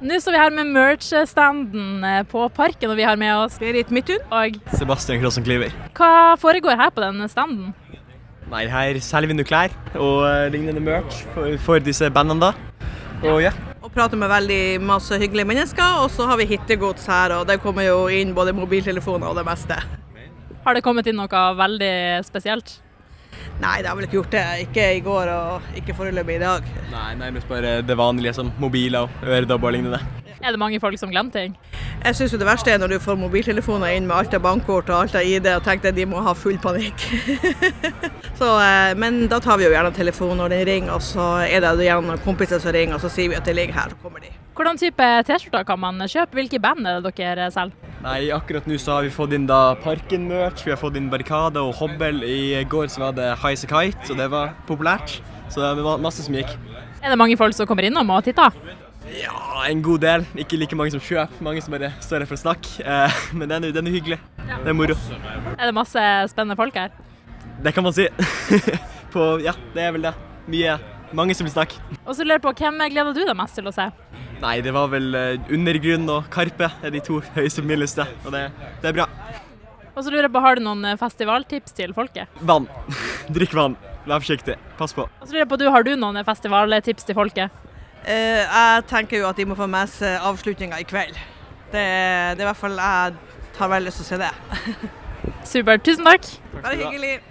Nå står vi her med merch-standen eh, på Parken, og vi har med oss Berit Midthun. Og Sebastian Krossen Klyver. hva foregår her på den standen? Nei, her selger vi nå klær og eh, lignende merch for, for disse bandene da. Og ja. Og prater med veldig masse hyggelige mennesker. Og så har vi hittegods her, og det kommer jo inn både mobiltelefoner og det meste. Har det kommet inn noe veldig spesielt? Nei, det har vel ikke gjort det. Ikke i går og ikke foreløpig i dag. Nei, nærmest bare det vanlige som mobiler og øredobber og lignende. Er det mange folk som glemmer ting? Jeg syns det verste er når du får mobiltelefoner inn med alt av bankkort og alt av ID, og tenker at de må ha full panikk. så, eh, men da tar vi jo gjerne telefonen når den ringer, og så er det gjerne noen kompiser som ringer, og så sier vi at de ligger her, så kommer de. Hvordan type T-skjorter kan man kjøpe? Hvilke band er det dere selger? Nei, akkurat nå så har vi fått inn da Parken-merch, vi har fått inn Barrikade og Hobbel. I går så var det Highas a Kite, og det var populært. Så det var masse som gikk. Er det mange folk som kommer innom og titter? Ja, en god del. Ikke like mange som kjøper, mange som bare står her for å snakke. Eh, men det er nå- det er nå hyggelig. Det er moro. Er det masse spennende folk her? Det kan man si. På, ja, det er vel det. Mye. Mange som vil snakke. Og så lurer jeg på, hvem gleder du deg mest til å se? Nei, det var vel eh, Undergrunn og Karpe er de to høyeste mildeste, og det, det er bra. Og så lurer jeg på, har du noen festivaltips til folket? Vann. Drikk vann. Vær forsiktig. Pass på. Og så lurer jeg på, du, har du noen festivaltips til folket? Eh, jeg tenker jo at de må få med seg avslutninga i kveld. Det, det er i hvert fall jeg tar veldig lyst til å se det. Supert, tusen takk! Bare hyggelig.